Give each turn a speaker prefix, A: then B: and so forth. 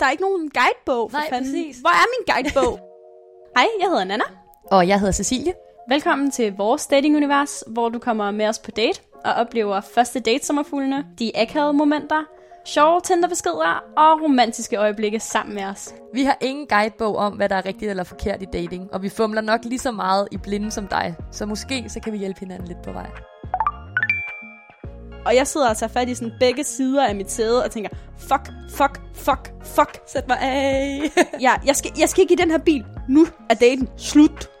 A: Der er ikke nogen guidebog. for
B: Nej,
A: fanden.
B: præcis.
A: Hvor er min guidebog? Hej, jeg hedder Nana.
B: Og jeg hedder Cecilie.
A: Velkommen til vores datingunivers, hvor du kommer med os på date og oplever første date sommerfuglene, de akavede momenter, sjove Tinder-beskeder og romantiske øjeblikke sammen med os.
B: Vi har ingen guidebog om, hvad der er rigtigt eller forkert i dating, og vi fumler nok lige så meget i blinde som dig, så måske så kan vi hjælpe hinanden lidt på vej.
A: Og jeg sidder og tager fat i sådan begge sider af mit sæde og tænker, fuck, fuck, fuck, fuck, sæt mig af. ja, jeg skal, jeg skal ikke i den her bil. Nu er daten slut.